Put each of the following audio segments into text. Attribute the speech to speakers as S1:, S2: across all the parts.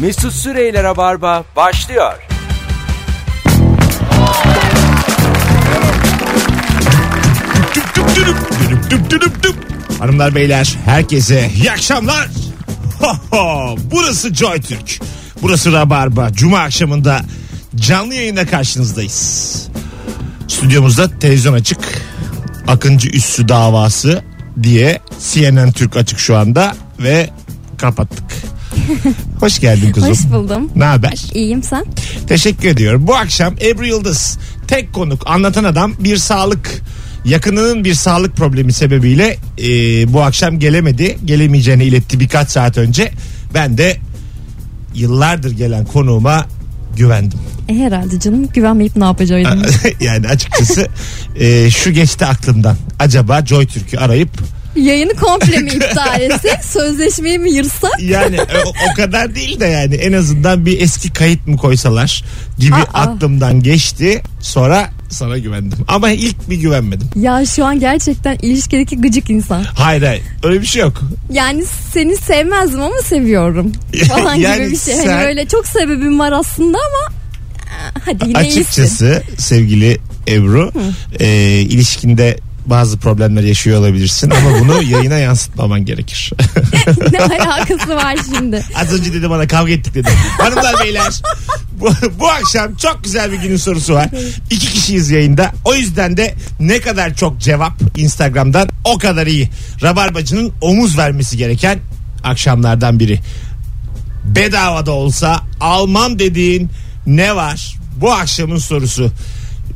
S1: Mesut Süreyler'e barba başlıyor.
S2: Düp düp düdüp, düdüp düp düdüp düp. Hanımlar beyler herkese iyi akşamlar. Ho ho, burası Joy Türk. Burası Rabarba. Cuma akşamında canlı yayında karşınızdayız. Stüdyomuzda televizyon açık. Akıncı Üssü davası diye CNN Türk açık şu anda ve kapattık. Hoş geldin kuzum.
S3: Hoş buldum.
S2: Ne haber?
S3: İyiyim sen?
S2: Teşekkür ediyorum. Bu akşam Ebru Yıldız tek konuk anlatan adam bir sağlık yakınının bir sağlık problemi sebebiyle e, bu akşam gelemedi. Gelemeyeceğini iletti birkaç saat önce. Ben de yıllardır gelen konuğuma güvendim.
S3: E, herhalde canım güvenmeyip ne yapacağım?
S2: e- yani açıkçası e, şu geçti aklımdan. Acaba Joy Türk'ü arayıp
S3: Yayını komple mi iptal etsek? Sözleşmeyi mi yırsak?
S2: yani o, o kadar değil de yani en azından bir eski kayıt mı koysalar gibi
S3: Aa.
S2: aklımdan geçti. Sonra sana güvendim. Ama ilk bir güvenmedim.
S3: Ya şu an gerçekten ilişkideki gıcık insan.
S2: Hayır hayır öyle bir şey yok.
S3: Yani seni sevmezdim ama seviyorum. Falan
S2: Yani
S3: gibi bir şey. Hani
S2: sen-
S3: böyle çok sebebim var aslında ama eh, hadi yine iyisin.
S2: Açıkçası sevgili Ebru e, ilişkinde bazı problemler yaşıyor olabilirsin ama bunu yayına yansıtmaman gerekir.
S3: ne alakası var şimdi?
S2: Az önce dedi bana kavga ettik dedi. Hanımlar beyler bu, bu akşam çok güzel bir günün sorusu var. İki kişiyiz yayında. O yüzden de ne kadar çok cevap Instagram'dan o kadar iyi. Rabarbacının omuz vermesi gereken akşamlardan biri. Bedava da olsa almam dediğin ne var? Bu akşamın sorusu.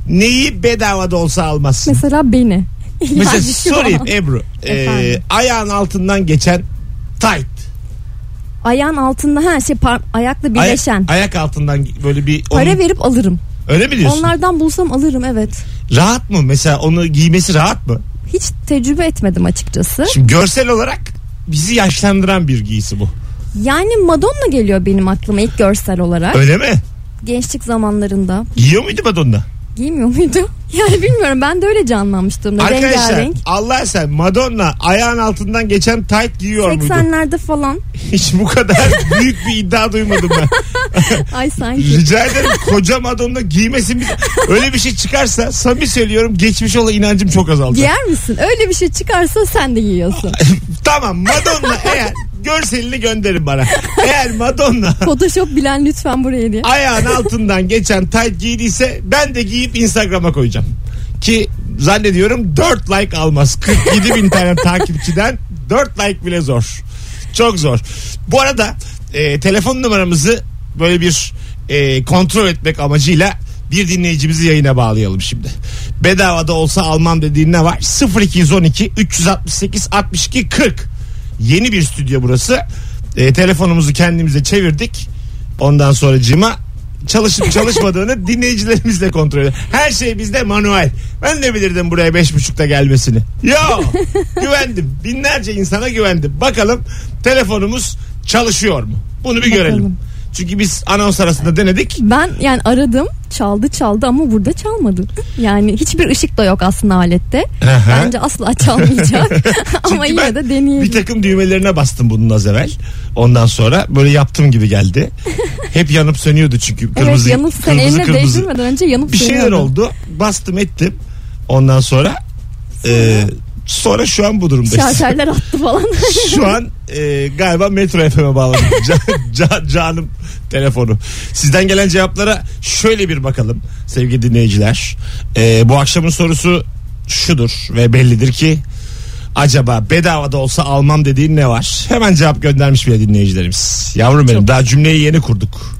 S2: Neyi bedava da olsa almazsın?
S3: Mesela beni.
S2: Mesela
S3: Yani şu
S2: sorayım
S3: an.
S2: Ebru. Ee,
S3: Efendim?
S2: ayağın altından geçen tight.
S3: Ayağın altında her şey par- ayakla
S2: Ay-
S3: birleşen.
S2: ayak altından böyle bir
S3: Para
S2: onun-
S3: verip alırım.
S2: öyle mi diyorsun?
S3: Onlardan bulsam alırım evet.
S2: Rahat mı mesela onu giymesi rahat mı?
S3: Hiç tecrübe etmedim açıkçası.
S2: Şimdi görsel olarak bizi yaşlandıran bir giysi bu.
S3: Yani Madonna geliyor benim aklıma ilk görsel olarak.
S2: Öyle mi?
S3: Gençlik zamanlarında.
S2: Giyiyor muydu Madonna?
S3: Giymiyor muydu? Yani bilmiyorum ben de öyle canlanmıştım. da
S2: Arkadaşlar
S3: Rengarenk.
S2: Allah sen Madonna ayağın altından geçen tight giyiyor muydu?
S3: 80'lerde falan.
S2: Hiç bu kadar büyük bir iddia duymadım ben.
S3: Ay sanki.
S2: Rica ederim koca Madonna giymesin. Bir... Öyle bir şey çıkarsa samimi söylüyorum geçmiş ola inancım çok azaldı.
S3: Giyer misin? Öyle bir şey çıkarsa sen de giyiyorsun.
S2: Tamam Madonna eğer görselini gönderin bana. Eğer Madonna
S3: Photoshop bilen lütfen buraya diye.
S2: ayağın altından geçen tayt giydiyse ben de giyip Instagram'a koyacağım. Ki zannediyorum 4 like almaz. 47 bin tane takipçiden 4 like bile zor. Çok zor. Bu arada e, telefon numaramızı böyle bir e, kontrol etmek amacıyla bir dinleyicimizi yayına bağlayalım şimdi. Bedava da olsa almam dediğin ne var? 0212 368 62 40. Yeni bir stüdyo burası. E, telefonumuzu kendimize çevirdik. Ondan sonracığıma çalışıp çalışmadığını dinleyicilerimizle kontrol ediyor. Her şey bizde manuel. Ben de bilirdim buraya beş buçukta gelmesini. Yo güvendim. Binlerce insana güvendim. Bakalım telefonumuz çalışıyor mu? Bunu bir görelim.
S3: Bakalım.
S2: Çünkü biz anons arasında denedik.
S3: Ben yani aradım çaldı çaldı ama burada çalmadı. Yani hiçbir ışık da yok aslında alette.
S2: Aha.
S3: Bence asla çalmayacak. ama
S2: Çünkü ben
S3: yine de deneyelim.
S2: Bir takım düğmelerine bastım bunun az evvel. Ondan sonra böyle yaptığım gibi geldi. Hep yanıp sönüyordu çünkü. Kırmızı,
S3: evet yanıp sen
S2: kırmızı,
S3: eline
S2: kırmızı.
S3: değdirmeden önce yanıp
S2: bir şeyler
S3: sönüyordu.
S2: oldu. Bastım ettim. Ondan sonra e, sonra şu an bu durumdayız.
S3: Şarşerler attı falan.
S2: şu an e, galiba Metro FM'e bağladım. Ca- ca- canım telefonu. Sizden gelen cevaplara şöyle bir bakalım sevgili dinleyiciler. E, bu akşamın sorusu şudur ve bellidir ki acaba bedava da olsa almam dediğin ne var? Hemen cevap göndermiş bile dinleyicilerimiz. Yavrum benim daha cümleyi yeni kurduk.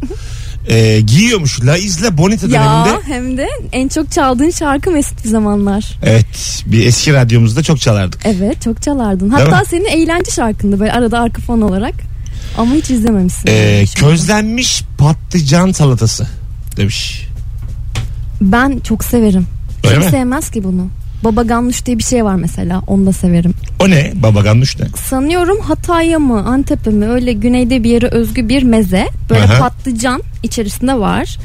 S2: E, giyiyormuş La Isla Bonita döneminde.
S3: ya hem de en çok çaldığın şarkı Mesut bir zamanlar.
S2: Evet bir eski radyomuzda çok çalardık.
S3: Evet çok çalardın.
S2: Değil
S3: Hatta
S2: mi?
S3: senin eğlence şarkındı böyle arada arka fon olarak. Ama hiç izlememişsin.
S2: Ee,
S3: Yani şu anda.
S2: közlenmiş patlıcan salatası demiş.
S3: Ben çok severim.
S2: Öyle
S3: Kim
S2: mi?
S3: sevmez ki bunu. Baba ganoush diye bir şey var mesela. Onu da severim.
S2: O ne? Baba ganoush ne?
S3: Sanıyorum Hatay'a mı Antep'e mi öyle güneyde bir yere özgü bir meze. Böyle
S2: Aha.
S3: patlıcan içerisinde var.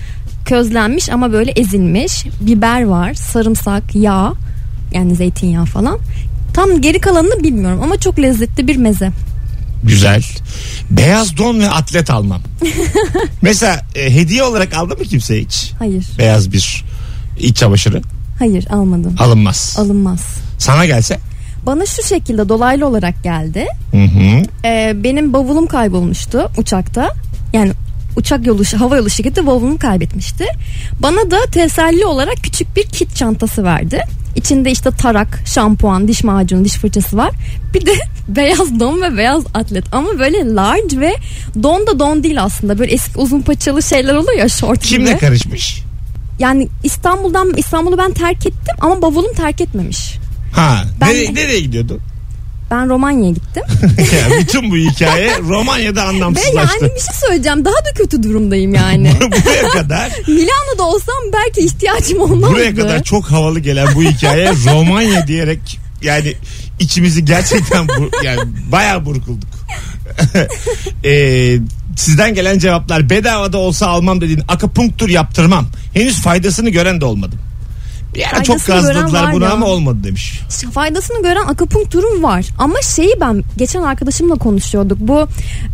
S3: Közlenmiş ama böyle ezilmiş. Biber var, sarımsak, yağ yani zeytinyağı falan. Tam geri kalanını bilmiyorum ama çok lezzetli bir meze.
S2: Güzel. Beyaz don ve atlet almam. Mesela e, hediye olarak aldı mı kimse hiç?
S3: Hayır.
S2: Beyaz bir iç çamaşırı
S3: Hayır almadım.
S2: alınmaz.
S3: Alınmaz.
S2: Sana gelse.
S3: Bana şu şekilde dolaylı olarak geldi.
S2: Hı hı.
S3: Ee, benim bavulum kaybolmuştu uçakta. Yani uçak yolu hava yolu şirketi bavulumu kaybetmişti. Bana da teselli olarak küçük bir kit çantası verdi. İçinde işte tarak, şampuan, diş macunu, diş fırçası var. Bir de beyaz don ve beyaz atlet ama böyle large ve don da don değil aslında. Böyle eski uzun paçalı şeyler oluyor ya şort gibi.
S2: Kimle karışmış?
S3: Yani İstanbul'dan İstanbul'u ben terk ettim ama bavulum terk etmemiş.
S2: Ha.
S3: Ben-
S2: Nereye, nereye gidiyordun?
S3: Ben Romanya'ya gittim.
S2: Ya bütün bu hikaye Romanya'da
S3: Ve
S2: anlamsızlaştı.
S3: yani bir şey söyleyeceğim. Daha da kötü durumdayım yani.
S2: Buraya kadar
S3: Milano'da olsam belki ihtiyacım olmazdı.
S2: buraya kadar çok havalı gelen bu hikaye Romanya diyerek yani içimizi gerçekten bu, yani bayağı burkulduk. Ee, sizden gelen cevaplar bedavada olsa almam dediğin akapunktur yaptırmam. Henüz faydasını gören de olmadım. Bir ara çok
S3: Faydasını gören
S2: gazladılar
S3: var
S2: bunu
S3: ya.
S2: ama olmadı demiş.
S3: Faydasını gören akupunkturun var. Ama şeyi ben geçen arkadaşımla konuşuyorduk. Bu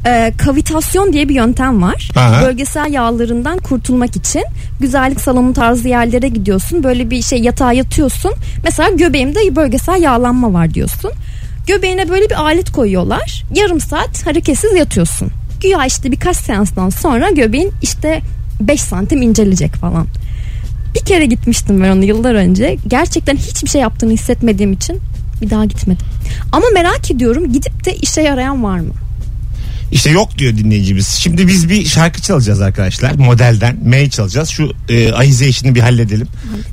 S3: e, kavitasyon diye bir yöntem var.
S2: Aha.
S3: Bölgesel yağlarından kurtulmak için güzellik salonu tarzı yerlere gidiyorsun. Böyle bir şey yatağa yatıyorsun. Mesela göbeğimde bölgesel yağlanma var diyorsun. Göbeğine böyle bir alet koyuyorlar. Yarım saat hareketsiz yatıyorsun. Güya işte birkaç seanstan sonra göbeğin işte 5 santim incelecek falan. Bir kere gitmiştim ben onu yıllar önce. Gerçekten hiçbir şey yaptığını hissetmediğim için bir daha gitmedim. Ama merak ediyorum gidip de işe yarayan var mı?
S2: İşte yok diyor dinleyicimiz. Şimdi biz bir şarkı çalacağız arkadaşlar. Modelden May çalacağız. Şu e, ahize işini bir halledelim.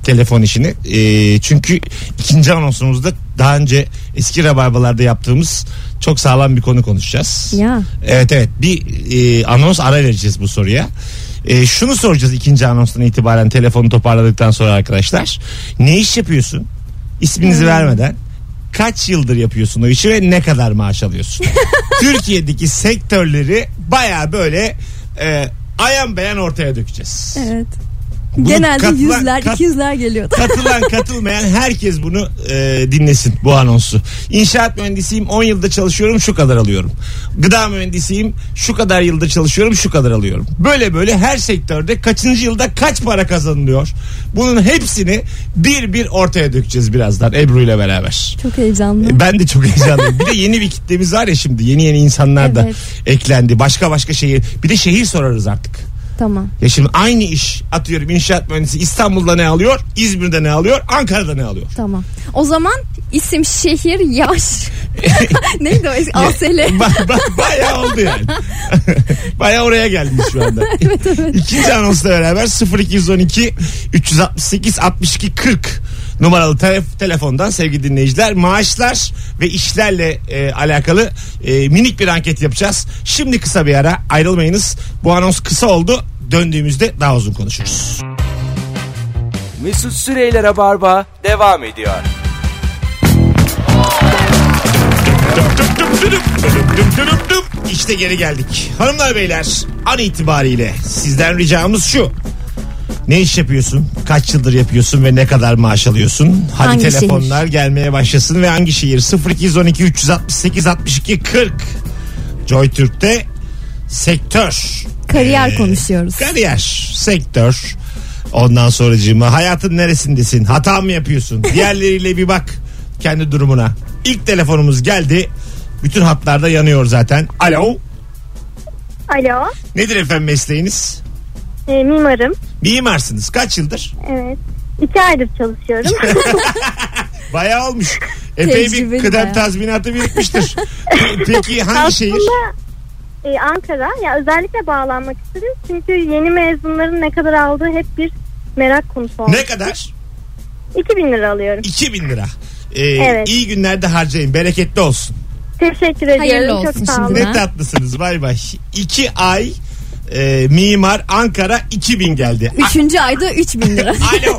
S2: Telefon işini. E, çünkü ikinci anonsumuzda daha önce eski rabarbalarda yaptığımız çok sağlam bir konu konuşacağız.
S3: Ya.
S2: Evet evet. Bir e, anons ara vereceğiz bu soruya. E, şunu soracağız ikinci anonstan itibaren telefonu toparladıktan sonra arkadaşlar. Ne iş yapıyorsun? İsminizi vermeden kaç yıldır yapıyorsun o işi ve ne kadar maaş alıyorsun? Türkiye'deki sektörleri baya böyle e, ayan beyan ortaya dökeceğiz.
S3: Evet.
S2: Bunu
S3: Genelde
S2: katılan-
S3: yüzler,
S2: kat-
S3: ikizler geliyor.
S2: Katılan katılmayan herkes bunu e, dinlesin bu anonsu. İnşaat mühendisiyim 10 yılda çalışıyorum şu kadar alıyorum. Gıda mühendisiyim şu kadar yılda çalışıyorum şu kadar alıyorum. Böyle böyle her sektörde kaçıncı yılda kaç para kazanılıyor? Bunun hepsini bir bir ortaya dökeceğiz birazdan Ebru ile beraber.
S3: Çok heyecanlı.
S2: E, Ben de çok heyecanlıyım. Bir de yeni bir kitlemiz var ya şimdi. Yeni yeni insanlar da
S3: Evet.
S2: eklendi. Başka başka şehir. Bir de şehir sorarız artık.
S3: Tamam.
S2: Ya şimdi aynı iş atıyorum inşaat mühendisi İstanbul'da ne alıyor? İzmir'de ne alıyor? Ankara'da ne alıyor?
S3: Tamam. O zaman isim, şehir, yaş. Neydi o? eski- ASL.
S2: Ba- ba- bayağı oldu yani. bayağı oraya geldik şu anda. İkinci anonsla beraber 0212 368 62 40 numaralı telef- telefondan sevgili dinleyiciler maaşlar ve işlerle e, alakalı e, minik bir anket yapacağız. Şimdi kısa bir ara ayrılmayınız. Bu anons kısa oldu. Döndüğümüzde daha uzun konuşuruz.
S1: Mesut Süreyler'e barba devam ediyor.
S2: İşte geri geldik. Hanımlar beyler an itibariyle sizden ricamız şu. Ne iş yapıyorsun? Kaç yıldır yapıyorsun ve ne kadar maaş alıyorsun? Hadi
S3: Hangi
S2: telefonlar gelmeye başlasın ve hangi şehir? 0212 368 62 40 Joy Türk'te sektör
S3: Kariyer
S2: Ee,
S3: konuşuyoruz.
S2: Kariyer, sektör. Ondan sonracığıma hayatın neresindesin? Hata mı yapıyorsun? Diğerleriyle bir bak kendi durumuna. İlk telefonumuz geldi. Bütün hatlarda yanıyor zaten. Alo.
S4: Alo,
S2: Nedir efendim mesleğiniz?
S4: e, mimarım.
S2: Mimarsınız. Kaç yıldır?
S4: Evet. İki aydır çalışıyorum.
S2: Bayağı olmuş. Epey bir
S3: Tecrübeli
S2: kıdem
S3: bayağı.
S2: tazminatı birikmiştir. Pe- Peki hangi şehir?
S4: Aslında e, Ankara. Ya özellikle bağlanmak istedim. Çünkü yeni mezunların ne kadar aldığı hep bir merak konusu oldu.
S2: Ne kadar?
S4: 2000 lira alıyorum.
S2: 2000 lira. Ee,
S4: Evet.
S2: İyi günlerde harcayın. Bereketli olsun.
S4: Teşekkür ediyorum.
S3: Hayırlı olsun
S4: Çok sağ olun.
S3: şimdi.
S2: Ne
S3: Ha?
S2: tatlısınız bay bay. İki ay e, mimar Ankara 2000 geldi. A-
S3: Üçüncü ayda 3000 lira.
S2: Alo.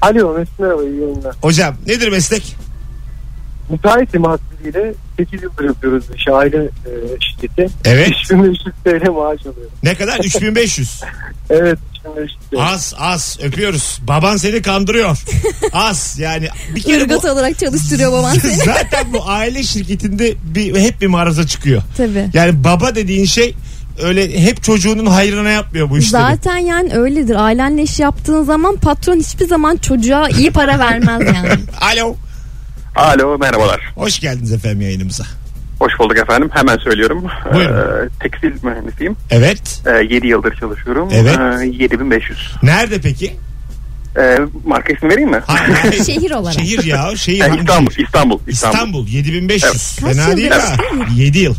S5: Alo Mesut merhaba iyi yayınlar.
S2: Hocam nedir meslek?
S5: Müteahhitim hasbiyle 8 yıldır yapıyoruz bu işi aile e, şirketi.
S2: Evet.
S5: 3500 TL maaş alıyorum.
S2: Ne kadar? 3500.
S5: Evet 3500 insanlar eşit değil.
S2: Az az öpüyoruz. Baban seni kandırıyor. Az yani bir kere bu
S3: Irgat olarak çalıştırıyor baban seni.
S2: zaten bu aile şirketinde bir hep bir maraza çıkıyor.
S3: Tabii.
S2: Yani baba dediğin şey öyle hep çocuğunun hayrına yapmıyor bu işleri.
S3: Zaten yani öyledir. Ailenle iş yaptığın zaman patron hiçbir zaman çocuğa iyi para vermez yani.
S2: Alo.
S6: Alo merhabalar.
S2: Hoş geldiniz efendim yayınımıza.
S6: Hoş bulduk efendim. Hemen söylüyorum.
S2: Buyurun.
S6: Ee, tekstil mühendisiyim.
S2: Evet.
S6: Ee, 7 yıldır çalışıyorum.
S2: Evet.
S6: Ee, 7500.
S2: Nerede peki?
S6: Ee, marka ismi vereyim mi?
S2: Hayır.
S3: Şehir olarak.
S2: Şehir ya. Şehir.
S6: Ee,
S2: Hangi
S6: İstanbul,
S2: şehir?
S6: İstanbul, İstanbul.
S2: İstanbul. 7500.
S3: Kaç
S2: Fena
S3: yıl
S2: değil ha. 7 yıl.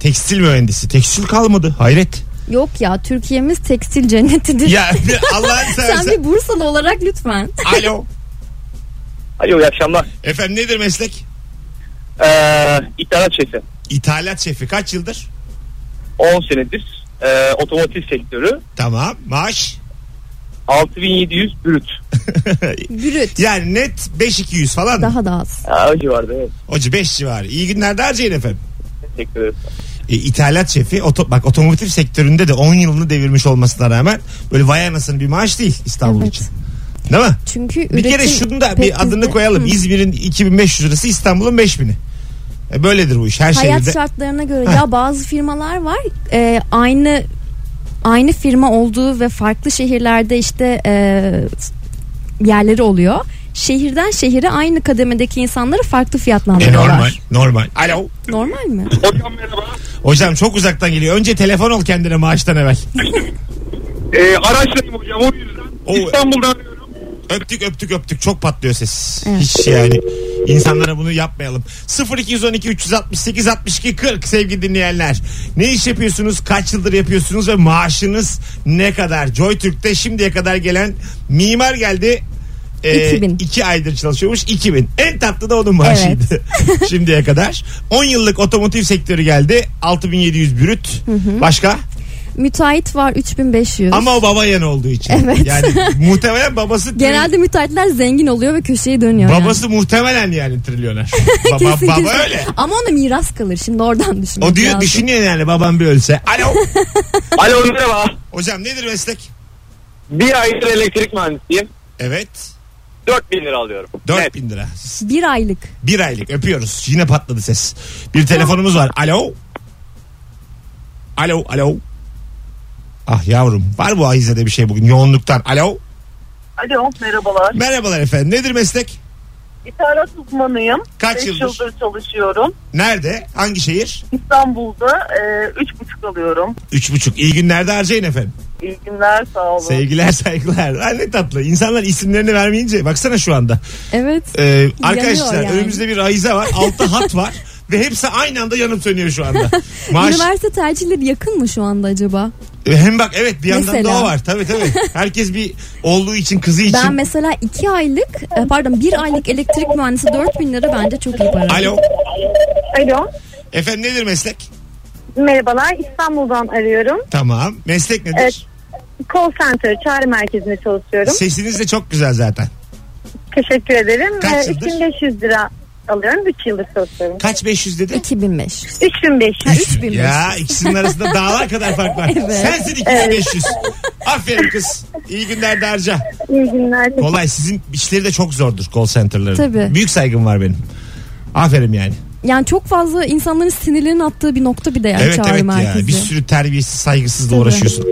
S2: Tekstil mühendisi. Tekstil kalmadı. Hayret.
S3: Yok ya Türkiye'miz tekstil cennetidir.
S2: Ya Allah'ını
S3: Sen
S2: seversen.
S3: bir Bursalı olarak lütfen.
S2: Alo.
S7: Alo iyi akşamlar.
S2: Efendim nedir meslek?
S7: Ee, İthalat şefi.
S2: İthalat şefi kaç yıldır?
S7: 10 senedir e, otomotiv sektörü.
S2: Tamam. Maaş?
S7: 6700 brüt.
S3: Brüt.
S2: Yani net 5200 falan mı?
S3: Daha da az.
S7: Ha, o civarda evet.
S2: Hoca 5 civarı. İyi günler de harcayın efendim.
S7: Teşekkür ederim.
S2: E, ithalat şefi oto, bak otomotiv sektöründe de 10 yılını devirmiş olmasına rağmen böyle vay anasının bir maaş değil İstanbul
S3: Evet.
S2: için. Değil mi?
S3: Çünkü
S2: Bir kere
S3: üretim
S2: şunu da
S3: pek
S2: bir adını
S3: bizde-
S2: koyalım.
S3: Hı.
S2: İzmir'in 2500 lirası İstanbul'un 5000'i. E, böyledir bu iş her
S3: Hayat
S2: şehirde.
S3: şartlarına göre ya bazı firmalar var e, aynı aynı firma olduğu ve farklı şehirlerde işte e, yerleri oluyor. Şehirden şehire aynı kademedeki insanları farklı
S2: E,
S3: fiyatlandırıyorlar.
S2: normal, normal. Alo.
S3: Normal mi?
S5: Hocam merhaba.
S2: Hocam çok uzaktan geliyor. Önce telefon ol kendine maaştan evvel.
S5: Ee, araçtayım hocam o yüzden.
S2: O-
S5: İstanbul'dan arıyorum.
S2: Öptük öptük öptük çok patlıyor ses.
S3: Evet.
S2: Hiç yani insanlara bunu yapmayalım. 0212 368 62 40 sevgili dinleyenler. Ne iş yapıyorsunuz? Kaç yıldır yapıyorsunuz ve maaşınız ne kadar? Joy Türk'te şimdiye kadar gelen mimar geldi.
S3: 2000.
S2: 2 aydır çalışıyormuş 2000. En tatlı da onun maaşıydı şimdiye kadar. 10 yıllık otomotiv sektörü geldi 6700 brüt. Başka?
S3: Müteahhit var 3500.
S2: Ama o baba yan olduğu için.
S3: Evet.
S2: Yani muhtemelen babası
S3: Genelde müteahhitler zengin oluyor ve köşeye dönüyor. yani.
S2: Babası muhtemelen yani trilyoner. Ba- ba-
S3: Kesin,
S2: baba
S3: kesin.
S2: öyle.
S3: Ama ona miras kalır. Şimdi oradan düşünmek
S2: O diyor
S3: lazım.
S2: düşünüyor yani babam bir ölse. Alo.
S7: Alo merhaba.
S2: Hocam nedir meslek?
S7: Bir aydır elektrik mühendisiyim.
S2: Evet.
S7: 4000 lira alıyorum.
S2: 4000 lira.
S3: Bir aylık.
S2: Bir aylık öpüyoruz. Yine patladı ses. Bir telefonumuz var. Alo. Alo. Alo. Ah yavrum. Var bu Ahize'de bir şey bugün yoğunluktan. Alo.
S8: Alo merhabalar.
S2: Merhabalar efendim. Nedir meslek?
S8: İthalat uzmanıyım.
S2: Kaç
S8: Beş
S2: yıldır?
S8: çalışıyorum.
S2: Nerede? Hangi şehir?
S8: İstanbul'da e, üç buçuk alıyorum.
S2: Üç buçuk. İyi günlerde harcayın efendim.
S8: İyi günler sağ olun.
S2: Sevgiler saygılar. Ay ne tatlı. İnsanlar isimlerini vermeyince baksana şu anda.
S3: Evet.
S2: Ee, arkadaşlar
S3: yani.
S2: önümüzde bir ayize var. Altı hat var. Ve hepsi aynı anda yanıp sönüyor şu anda. Maaş
S3: Üniversite tercihleri yakın mı şu anda acaba?
S2: hem bak evet bir yandan
S3: Mesela.
S2: da o var. Tabii tabii. Herkes bir olduğu için kızı için.
S3: Ben mesela iki aylık e, pardon bir aylık elektrik mühendisi 4000 lira bence çok iyi para.
S2: Alo.
S4: Alo.
S2: Efendim nedir meslek?
S4: Merhabalar İstanbul'dan arıyorum.
S2: Tamam. Meslek nedir?
S4: Evet. Call center çağrı merkezinde çalışıyorum.
S2: Sesiniz de çok güzel zaten.
S4: Teşekkür ederim.
S2: Kaç
S4: Ee,
S2: yıldır?
S4: 3500 lira alıyorum. 3 yıldır çalışıyorum.
S2: Kaç 500 dedi?
S3: 2005.
S4: 3500.
S3: 3500.
S2: Ya ikisinin arasında dağlar kadar fark var.
S3: Evet.
S2: Sensin 2500. Aferin kız. İyi günler de harca.
S4: İyi günler.
S2: Kolay. Sizin işleri de çok zordur call center'ların.
S3: Tabii.
S2: Büyük saygım var benim. Aferin yani.
S3: Yani çok fazla insanların sinirlerinin attığı bir nokta bir de yani
S2: evet
S3: çağrı
S2: evet
S3: merkezi.
S2: ya bir sürü terbiyesiz saygısızla uğraşıyorsun.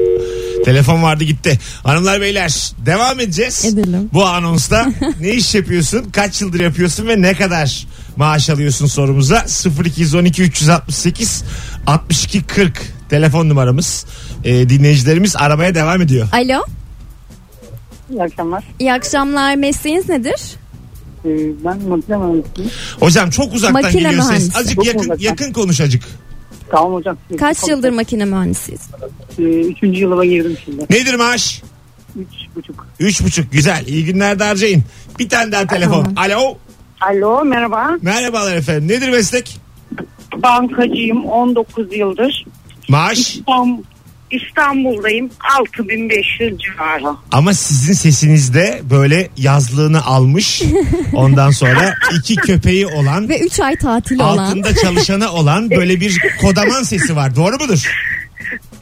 S2: Telefon vardı gitti. Hanımlar beyler devam edeceğiz.
S3: Edelim.
S2: Bu anonsta ne iş yapıyorsun, kaç yıldır yapıyorsun ve ne kadar maaş alıyorsun sorumuza 0212 368 62 40 telefon numaramız. Ee, dinleyicilerimiz aramaya devam ediyor.
S3: Alo.
S8: İyi akşamlar.
S3: İyi akşamlar. Mesleğiniz nedir?
S8: Ee, ben makine mühendisiyim.
S2: Hocam çok uzaktan
S3: Makine
S2: geliyor ses.
S3: mühendisi.
S2: Azıcık
S8: Çok
S2: yakın,
S8: uzaktan.
S2: yakın konuş azıcık.
S8: Tamam hocam.
S3: Kaç yıldır makine mühendisiyiz?
S8: Ee, üçüncü yılıma girdim şimdi.
S2: Nedir maaş?
S8: Üç buçuk.
S2: Üç buçuk güzel. İyi günler de harcayın. Bir tane daha telefon. Alo.
S8: Alo merhaba.
S2: Merhabalar efendim. Nedir meslek?
S8: Bankacıyım 19 yıldır.
S2: Maaş
S8: Tam İstanbul'dayım 6500 civarı.
S2: ama sizin sesinizde böyle yazlığını almış. Ondan sonra iki köpeği olan
S3: Ve 3 ay tatil olan.
S2: altında çalışana olan böyle bir kodaman sesi var. Doğru mudur?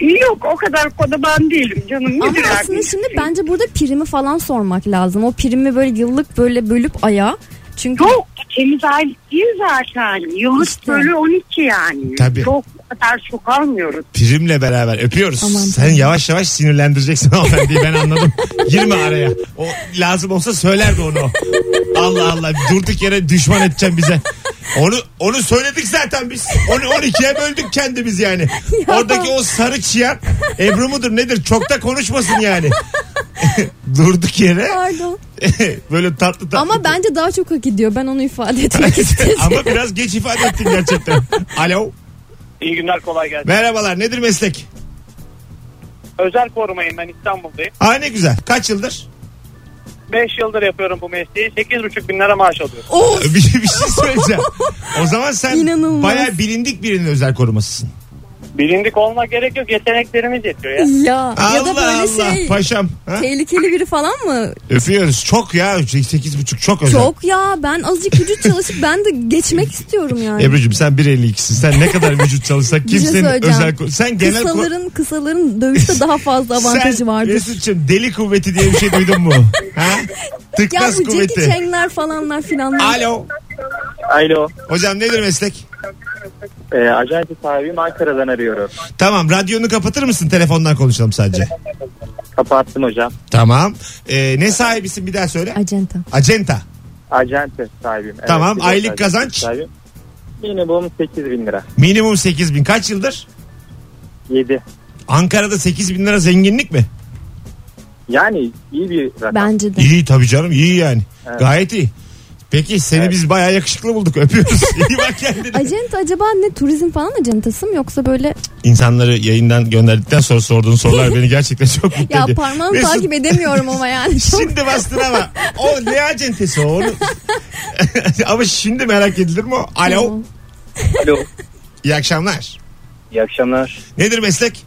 S8: Yok o kadar kodaban değilim canım.
S3: Ama
S8: Nedir
S3: aslında
S8: abi?
S3: şimdi bence burada primi falan sormak lazım. O primi böyle yıllık böyle bölüp aya. Çünkü
S8: Yok ikimiz aylık değil zaten. Yıllık
S3: İşte.
S8: bölü 12 yani.
S2: Tabii.
S8: Çok o kadar çok almıyoruz.
S2: Primle beraber öpüyoruz.
S3: Aman
S2: Sen yavaş yavaş sinirlendireceksin hanımefendiyi ben anladım. Girme araya. O lazım olsa söylerdi onu. o. Allah Allah durduk yere düşman edeceğim bize. Onu onu söyledik zaten biz. Onu 12'ye böldük kendimiz yani. Oradaki o sarı çiyan Ebru mudur nedir çok da konuşmasın yani. durduk yere
S3: pardon.
S2: böyle tatlı tatlı.
S3: Ama bence daha çok hak ediyor. Ben onu ifade etmek istedim.
S2: Ama biraz geç ifade ettim gerçekten. Alo.
S7: İyi günler kolay gelsin.
S2: Merhabalar nedir meslek?
S7: Özel korumayım ben İstanbul'dayım.
S2: Aa ne güzel. Kaç yıldır?
S7: 5 yıldır yapıyorum bu mesleği. 8,5 bin lira maaş alıyorum.
S3: Of!
S2: bir, bir şey söyleyeceğim. O zaman sen
S3: İnanılmaz.
S2: bayağı bilindik birinin özel korumasısın.
S7: Bilindik olma gerek yok. Yeteneklerimiz yetiyor ya.
S3: Ya ya da böyle
S2: Allah
S3: şey
S2: paşam. Ha?
S3: tehlikeli biri falan mı?
S2: Öpüyoruz. Çok ya. Sekiz buçuk çok özel.
S3: Çok ya ben azıcık vücut çalışıp ben de geçmek istiyorum yani.
S2: Ebru'cum sen 1.52'sin. Sen ne kadar vücut çalışsak
S3: Bir şey
S2: kimsenin
S3: söyleyeceğim.
S2: özel... ko- Sen genel... ko-
S3: Kısaların kısaların dövüşte daha fazla avantajı
S2: sen,
S3: vardır.
S2: Mesut'cum deli kuvveti diye bir şey duydun mu? ha?
S3: Ya
S2: Tıklas
S3: bu
S2: kuvveti.
S3: Jackie Chan'ler falanlar filanlar.
S2: Alo.
S5: Alo.
S2: Hocam nedir meslek?
S5: E, ajansı sahibim Ankara'dan arıyorum.
S2: Tamam radyonu kapatır mısın? Telefondan konuşalım sadece.
S5: Kapattım hocam.
S2: Tamam. Ee, ne sahibisin bir daha söyle.
S3: Acenta.
S2: Acenta.
S5: Ajansı sahibim. Evet,
S2: Tamam,
S5: sigorta
S2: aylık
S5: ajansı
S2: kazanç?
S5: Sahibim. Minimum 8 bin lira.
S2: Minimum 8 bin. Kaç yıldır?
S5: 7.
S2: Ankara'da 8 bin lira zenginlik mi?
S5: Yani iyi bir rakam.
S3: Bence de.
S2: İyi tabii canım iyi yani. Gayet iyi. Peki seni biz bayağı yakışıklı bulduk öpüyoruz. iyi bak kendine.
S3: Acenta acaba ne turizm falan acentası mı yoksa böyle
S2: İnsanları yayından gönderdikten sonra sorduğun sorular beni gerçekten çok mutlu
S3: ya
S2: ediyor.
S3: parmağımı
S2: Mesut,
S3: takip edemiyorum ama yani. Çok-
S2: Şimdi bastın ama o ne acentesi o onu. ama şimdi merak edilir mi o? Alo.
S3: Tamam.
S5: Alo.
S2: İyi akşamlar.
S5: İyi akşamlar.
S2: Nedir meslek?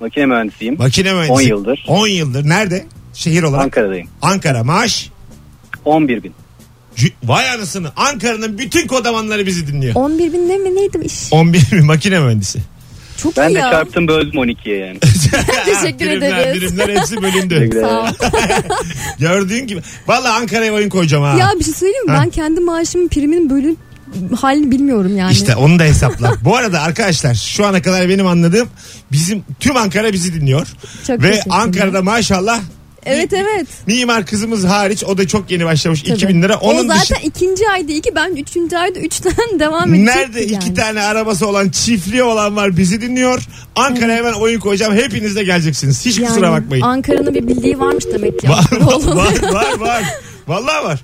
S5: Makine mühendisiyim.
S2: Makine mühendisi.
S5: 10 yıldır.
S2: 10 yıldır. Nerede? Şehir olarak. Ankara.
S5: Ankara'dayım.
S2: Maaş.
S5: 11 bin.
S2: C- Vay anasını. Ankara'nın bütün kodamanları bizi dinliyor.
S3: 11 bin ne mi neydi iş?
S2: 11 bin makine mühendisi.
S3: Çok
S5: Ben
S3: iyi
S5: de
S3: ya.
S5: çarptım böldüm 12'ye yani.
S3: Teşekkür
S2: Birimler,
S3: ederiz.
S2: Birimler hepsi
S5: Teşekkür
S2: bölündü.
S5: ederim.
S3: Sağ ol.
S2: Gördüğün gibi. Valla Ankara'ya oyun koyacağım ha.
S3: Ya bir şey söyleyeyim mi?
S2: Ha.
S3: Ben kendi maaşımın priminin bölün halini bilmiyorum yani.
S2: İşte onu da hesapla. Bu arada arkadaşlar şu ana kadar benim anladığım bizim tüm Ankara bizi dinliyor.
S3: Çok
S2: Ve
S3: teşekkürler.
S2: Ankara'da maşallah
S3: Evet evet.
S2: mimar kızımız hariç o da çok yeni başlamış.
S3: Tabii.
S2: 2000 lira.
S3: o
S2: Onun
S3: zaten
S2: dışı
S3: ikinci ayda iki ben üçüncü ayda üçten devam edecek.
S2: Nerede iki tane arabası olan çiftliği olan var bizi dinliyor. Ankara'ya hemen oyun koyacağım. Hepiniz de geleceksiniz. Hiç kusura bakmayın.
S3: Ankara'nın bir bildiği varmış demek ki.
S2: Var
S3: Ankara'nın.
S2: var var var. Vallahi var.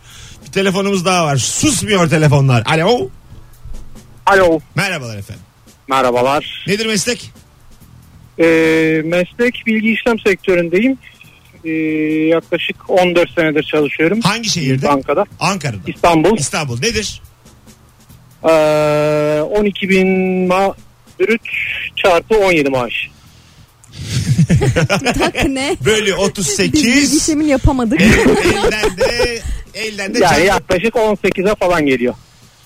S2: Bir telefonumuz daha var. Susmuyor telefonlar. Alo.
S7: Alo.
S2: Merhabalar efendim.
S7: Merhabalar. Ee,
S2: Nedir meslek?
S7: meslek bilgi işlem sektöründeyim. Ee, yaklaşık 14 senedir çalışıyorum.
S2: Hangi şehirde?
S7: Bankada.
S2: Ankara'da.
S7: İstanbul.
S2: İstanbul. Nedir?
S7: Ee, 12 bin ma- brüt çarpı 17 maaş.
S3: Tak ne?
S2: Bölü
S3: Biz bilgi
S2: 38.
S3: işlemini yapamadık.
S2: elden de elden de
S7: Yani
S2: çarp-
S7: yaklaşık 18'e falan geliyor.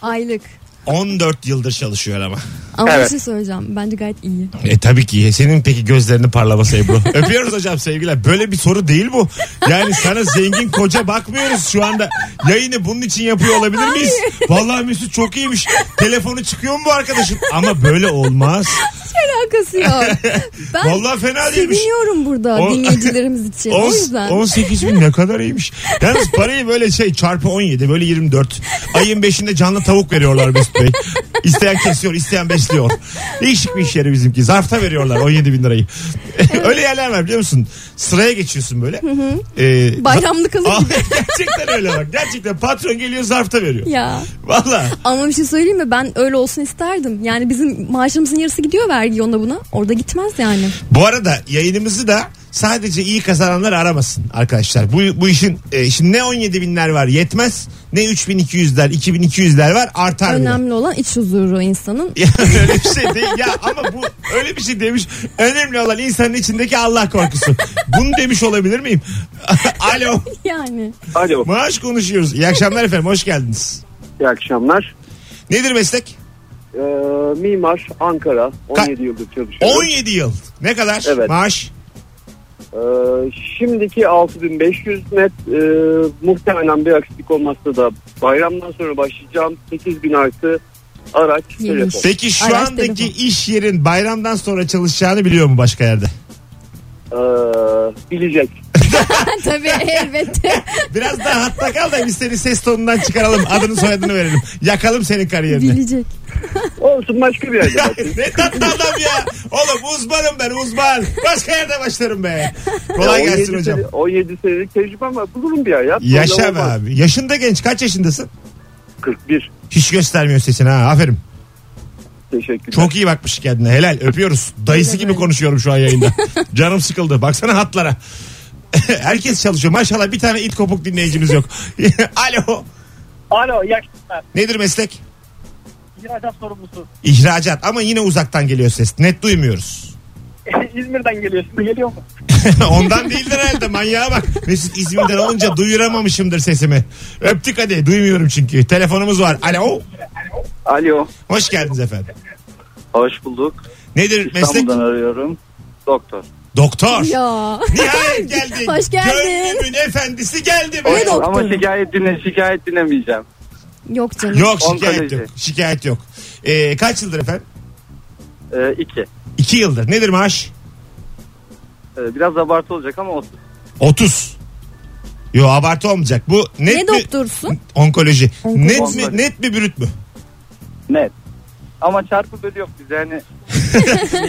S3: Aylık.
S2: 14 yıldır çalışıyor ama.
S3: Ama bir
S7: Evet.
S3: şey söyleyeceğim. Bence gayet iyi.
S2: E tabii ki. Senin peki gözlerini parlaması Ebru. Öpüyoruz hocam sevgiler. Böyle bir soru değil bu. Yani sana zengin koca bakmıyoruz şu anda. Yayını bunun için yapıyor olabilir miyiz? Vallahi Mesut çok iyiymiş. Telefonu çıkıyor mu bu arkadaşım? Ama böyle olmaz.
S3: Alakası yok. Ben
S2: Vallahi fena değilmiş.
S3: seviniyorum burada
S2: O-
S3: dinleyicilerimiz için. o yüzden.
S2: 18 bin ne kadar iyiymiş. Yalnız parayı böyle şey çarpı 17 böyle 24. Ayın 5'inde canlı tavuk veriyorlar Mesut Bey. İsteyen kesiyor isteyen besliyor. Değişik bir iş yeri bizimki. Zarfta veriyorlar 17 bin lirayı. Öyle yerler var biliyor musun? Sıraya geçiyorsun böyle. Ee,
S3: Bayramlık alır
S2: Aa,
S3: gibi.
S2: gerçekten öyle bak. Gerçekten patron geliyor zarfta veriyor.
S3: Ya.
S2: Valla.
S3: Ama bir şey söyleyeyim mi? Ben öyle olsun isterdim. Yani bizim maaşımızın yarısı gidiyor vergi onda buna. Orada gitmez yani.
S2: Bu arada yayınımızı da sadece iyi kazananlar aramasın arkadaşlar. Bu, bu işin e, şimdi ne 17 binler var yetmez ne 3200'ler 2200'ler var artar bile.
S3: Önemli olan iç huzuru insanın.
S2: Ya öyle bir şey değil. Ya ama bu öyle bir şey demiş. Önemli olan insanın içindeki Allah korkusu. Bunu demiş olabilir miyim? Alo.
S3: Yani.
S5: Alo.
S2: Maaş konuşuyoruz. İyi akşamlar efendim. Hoş geldiniz.
S5: İyi akşamlar.
S2: Nedir meslek?
S5: e, mimar Ankara 17 yıldır çalışıyorum.
S2: 17 yıl. Ne kadar
S5: Evet.
S2: maaş?
S5: E, şimdiki 6500 net e, muhtemelen bir aksilik olmazsa da bayramdan sonra başlayacağım 8000 artı araç
S3: Yeni
S5: telefon.
S2: Peki şu
S3: Araç
S2: andaki
S3: telefon.
S2: iş yerin bayramdan sonra çalışacağını biliyor mu başka yerde?
S5: E, bilecek.
S3: Tabii elbette.
S2: Biraz daha hatta kal da biz seni ses tonundan çıkaralım. Adını soyadını verelim. Yakalım senin kariyerini.
S3: Bilecek.
S5: Olsun başka bir yerde
S2: Ya
S5: bakın.
S2: ne tatlı adam ya. Oğlum uzmanım ben uzman. Başka yerde başlarım be. Kolay
S5: Ya, 17
S2: gelsin hocam.
S5: sene- 17 senelik tecrübe ama bulurum bir hayat.
S2: Yaşa
S5: Problem
S2: be
S5: olmaz.
S2: abi. Yaşın da genç. Kaç yaşındasın?
S5: 41.
S2: Hiç göstermiyor sesini ha. Aferin.
S5: Teşekkürler.
S2: Çok iyi bakmış kendine. Helal. Öpüyoruz. Dayısı gibi konuşuyorum şu an yayında. Canım sıkıldı. Baksana hatlara. Herkes çalışıyor. Maşallah bir tane it kopuk dinleyicimiz yok. Alo.
S7: Alo iyi akşamlar.
S2: Nedir meslek?
S7: İhracat sorumlusu.
S2: İhracat ama yine uzaktan geliyor ses. Net duymuyoruz.
S7: İzmir'den geliyorsun. Geliyor mu?
S2: Ondan değildir herhalde manyağa bak. Mesut İzmir'den olunca duyuramamışımdır sesimi. Öptük hadi duymuyorum çünkü. Telefonumuz var. Alo.
S5: Alo.
S2: Hoş geldiniz efendim.
S5: Hoş bulduk.
S2: Nedir meslek?
S5: arıyorum. Doktor.
S2: Doktor.
S3: Ya.
S2: Nihayet geldi.
S3: Hoş geldin.
S2: Gönlümün efendisi geldi.
S3: Ne
S2: Be.
S3: doktor?
S5: Ama şikayet dinle şikayet dinlemeyeceğim.
S3: Yok canım.
S2: Yok şikayet
S5: Onkoloji.
S2: yok. Şikayet yok. Ee, kaç yıldır efendim?
S5: Ee, iki.
S2: İki yıldır. Nedir maaş?
S5: Ee, biraz abartı olacak ama olsun.
S2: 30. Yo abartı olmayacak. Bu net
S3: ne
S2: mi?
S3: doktorsun?
S2: Onkoloji.
S3: Onkoloji.
S2: Net mi,
S5: Onkoloji.
S2: net mi bürüt mü?
S5: Net. Ama çarpı bölü yok bize yani.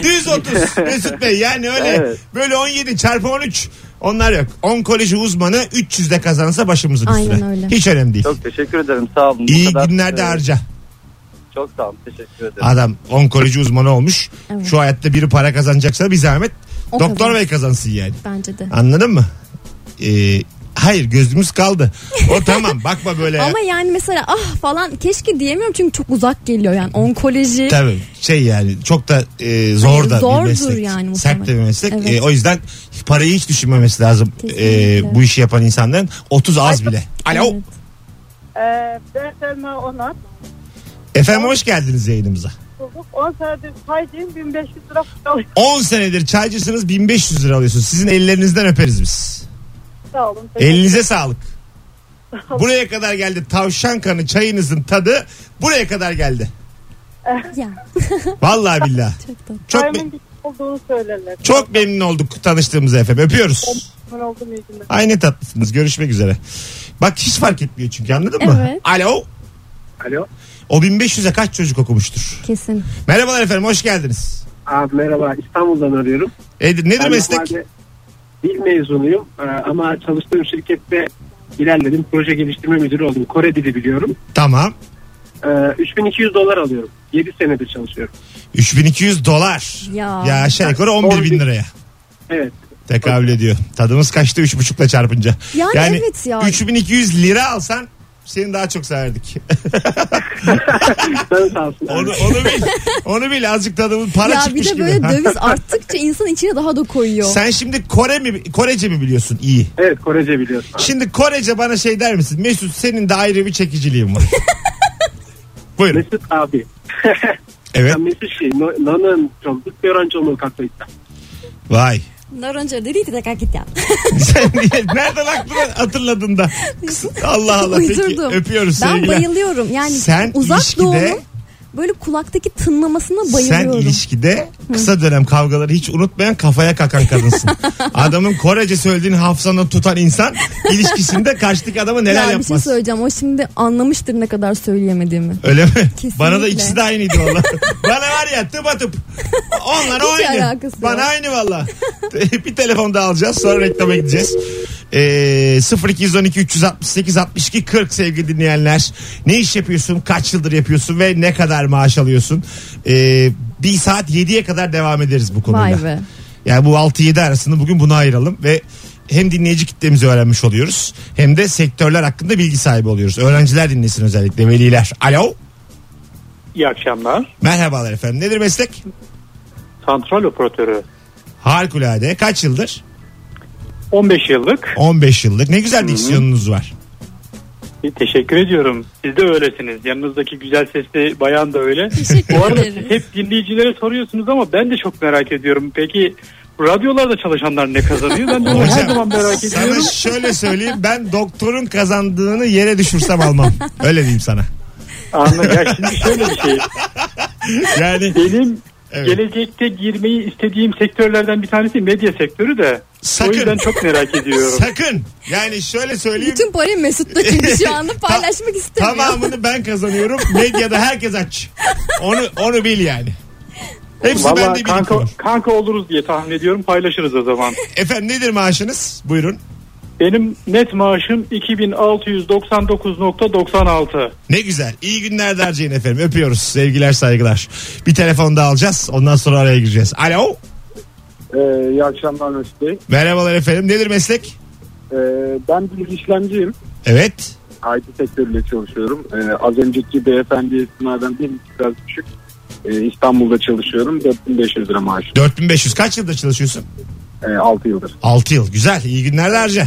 S2: Düz 30 Mesut Bey yani öyle
S5: Evet.
S2: böyle 17 çarpı 13 onlar yok. Onkoloji uzmanı 300'de kazansa başımızın
S3: Aynen
S2: üstüne.
S3: öyle.
S2: Hiç önemli değil.
S5: Çok teşekkür ederim sağ olun. Bu
S2: İyi
S5: kadar,
S2: günlerde
S5: e,
S2: harca.
S5: Çok sağ olun teşekkür ederim.
S2: Adam onkoloji uzmanı olmuş.
S3: Evet.
S2: Şu hayatta biri para kazanacaksa bir zahmet
S3: O
S2: doktor
S3: kadar.
S2: bey kazansın yani.
S3: Bence de.
S2: Anladın mı? Ee, hayır gözümüz kaldı. O tamam bakma böyle.
S3: Ama yani mesela ah falan keşke diyemiyorum çünkü çok uzak geliyor yani onkoloji.
S2: Tabii şey yani çok da e, zor
S3: Hayır,
S2: da
S3: zordur
S2: bir meslek.
S3: yani muhtemelen.
S2: Sert de bir meslek.
S3: Evet.
S2: E, o yüzden parayı hiç düşünmemesi lazım
S3: Kesinlikle.
S2: e, bu işi yapan insanların. 30 az bile. Alo.
S3: Evet.
S9: Ee, ben Selma Onat.
S2: Efendim hoş geldiniz yayınımıza.
S9: Bulduk. 10 senedir saydım 1500 lira para alıyorum.
S2: 10 senedir çaycısınız 1500 lira alıyorsunuz. Sizin ellerinizden öperiz biz.
S9: Sağ olun.
S2: Elinize sağlık. Buraya kadar geldi tavşan kanı çayınızın tadı buraya kadar geldi.
S3: Ya
S2: Vallahi billahi.
S3: çok da.
S2: Çok, me-
S9: Diamond şey olduğunu söylerler.
S2: çok memnun olduk tanıştığımız efendim. Öpüyoruz.
S9: memnun oldum iyi günler.
S2: Ay ne tatlısınız. Görüşmek üzere. Bak hiç fark etmiyor çünkü anladın mı?
S3: Evet.
S2: Alo.
S5: Alo.
S2: O 1500'e kaç çocuk okumuştur?
S3: Kesin.
S2: Merhabalar efendim hoş geldiniz.
S5: Abi merhaba İstanbul'dan arıyorum.
S2: E, nedir
S5: Ben
S2: meslek?
S5: normalde Dil mezunuyum Ee, ama çalıştığım şirkette ilerledim. Proje geliştirme müdürü oldum. Kore dili biliyorum.
S2: Tamam.
S5: Ee, 3200 dolar alıyorum. 7 senedir çalışıyorum.
S2: 3200 dolar.
S3: Ya.
S2: Ya aşağı yukarı 11 bin liraya.
S5: Evet.
S2: Tekabül ediyor. Tadımız kaçtı 3,5'la çarpınca.
S3: Yani evet ya.
S2: 3200 lira alsan seni daha çok severdik.
S5: Sen sağ olsun.
S2: onu, onu bil. Onu bil azıcık tadımız para
S3: ya bir
S2: çıkmış
S3: de
S2: gibi.
S3: böyle
S2: Ha.
S3: döviz arttıkça insan içine daha da koyuyor.
S2: Sen şimdi Kore mi Korece mi biliyorsun iyi?
S5: Evet Korece biliyorsun.
S2: Şimdi Korece bana şey der misin? Mesut senin de ayrı bir çekiciliğin var. Buyurun.
S5: Mesut abi.
S2: Evet.
S5: Ben Mesut şey. no- Nanın çoluk bir öğrenci olmanı katlıysa.
S2: Vay.
S3: Narınca dedi ki tekrar git ya.
S2: Sen niye, nereden aklına hatırladın da? Allah Allah. Peki,
S3: Uydurdum.
S2: öpüyoruz
S3: Ben
S2: sevgiler.
S3: bayılıyorum. Yani
S2: Sen
S3: uzak
S2: ilişkide-
S3: doğunun böyle kulaktaki tınlamasına
S2: Sen
S3: bayılıyorum.
S2: ilişkide kısa dönem kavgaları hiç unutmayan kafaya kakan kadınsın. Adamın Korece söylediğini hafızanı tutan insan ilişkisinde karşıdaki adama neler
S3: ya bir şey
S2: yapmaz.
S3: söyleyeceğim. O şimdi anlamıştır ne kadar söyleyemediğimi.
S2: Öyle mi?
S3: Kesinlikle.
S2: Bana da ikisi de aynıydı valla. Bana var ya tıp atıp. Onlar
S3: Hiç
S2: aynı.
S3: alakası yok.
S2: Bana aynı valla. bir telefon daha alacağız sonra reklama gideceğiz. Ee, 0212 368 62 40 sevgili dinleyenler. Ne iş yapıyorsun? Kaç yıldır yapıyorsun? Ve ne kadar maaş alıyorsun? Ee, bir saat 7'ye kadar devam ederiz bu konuyla.
S3: Vay be.
S2: Yani bu 6-7 arasını bugün buna ayıralım ve hem dinleyici kitlemizi öğrenmiş oluyoruz hem de sektörler hakkında bilgi sahibi oluyoruz. Öğrenciler dinlesin özellikle veliler. Alo.
S7: İyi akşamlar.
S2: Merhabalar efendim. Nedir meslek?
S7: Santral operatörü.
S2: Harikulade. Kaç yıldır?
S7: 15 yıllık.
S2: 15 yıllık. Ne güzel diksiyonunuz var.
S7: E, Teşekkür ediyorum. Siz de öylesiniz. Yanınızdaki güzel sesli bayan da öyle. Bu
S3: Teşekkür
S7: arada
S3: ederim.
S7: hep dinleyicilere soruyorsunuz ama ben de çok merak ediyorum. Peki radyolarda çalışanlar ne kazanıyor? Ben de onu her
S2: Hocam,
S7: zaman merak
S2: Sana
S7: ediyorum.
S2: şöyle söyleyeyim ben doktorun kazandığını yere düşürsem almam. Öyle diyeyim sana.
S7: Anla ya şimdi şöyle bir şey.
S2: Yani
S7: Benim
S2: Evet.
S7: gelecekte girmeyi istediğim sektörlerden bir tanesi medya sektörü de.
S2: Sakın.
S7: O yüzden çok merak ediyorum.
S2: sakın yani şöyle söyleyeyim
S3: Bütün parayı Mesut'ta çünkü şu anda paylaşmak istemiyor.
S2: tamamını ben kazanıyorum medyada herkes aç. Onu onu bil yani. Hepsi bende
S7: Valla kanka,
S2: birikiyor.
S7: kanka oluruz diye tahmin ediyorum. Paylaşırız o zaman.
S2: Efendim nedir maaşınız? Buyurun.
S7: Benim net maaşım 2699.96.
S2: Ne güzel. İyi günler de harcayın efendim. Öpüyoruz. Sevgiler saygılar. Bir telefon daha alacağız. Ondan sonra araya gireceğiz. Alo.
S5: Ee, iyi akşamlar Mesut Bey.
S2: Merhabalar efendim. Nedir meslek?
S5: Ee, ben bir işlemciyim.
S2: Evet.
S5: IT sektörüyle çalışıyorum. Ee, az önceki beyefendiye istinaden bir biraz düşük. Ee, İstanbul'da çalışıyorum. 4500 lira maaş.
S2: 4500. Kaç yılda çalışıyorsun?
S5: Ee, 6 yıldır.
S2: 6 yıl. Güzel. İyi günler de harca.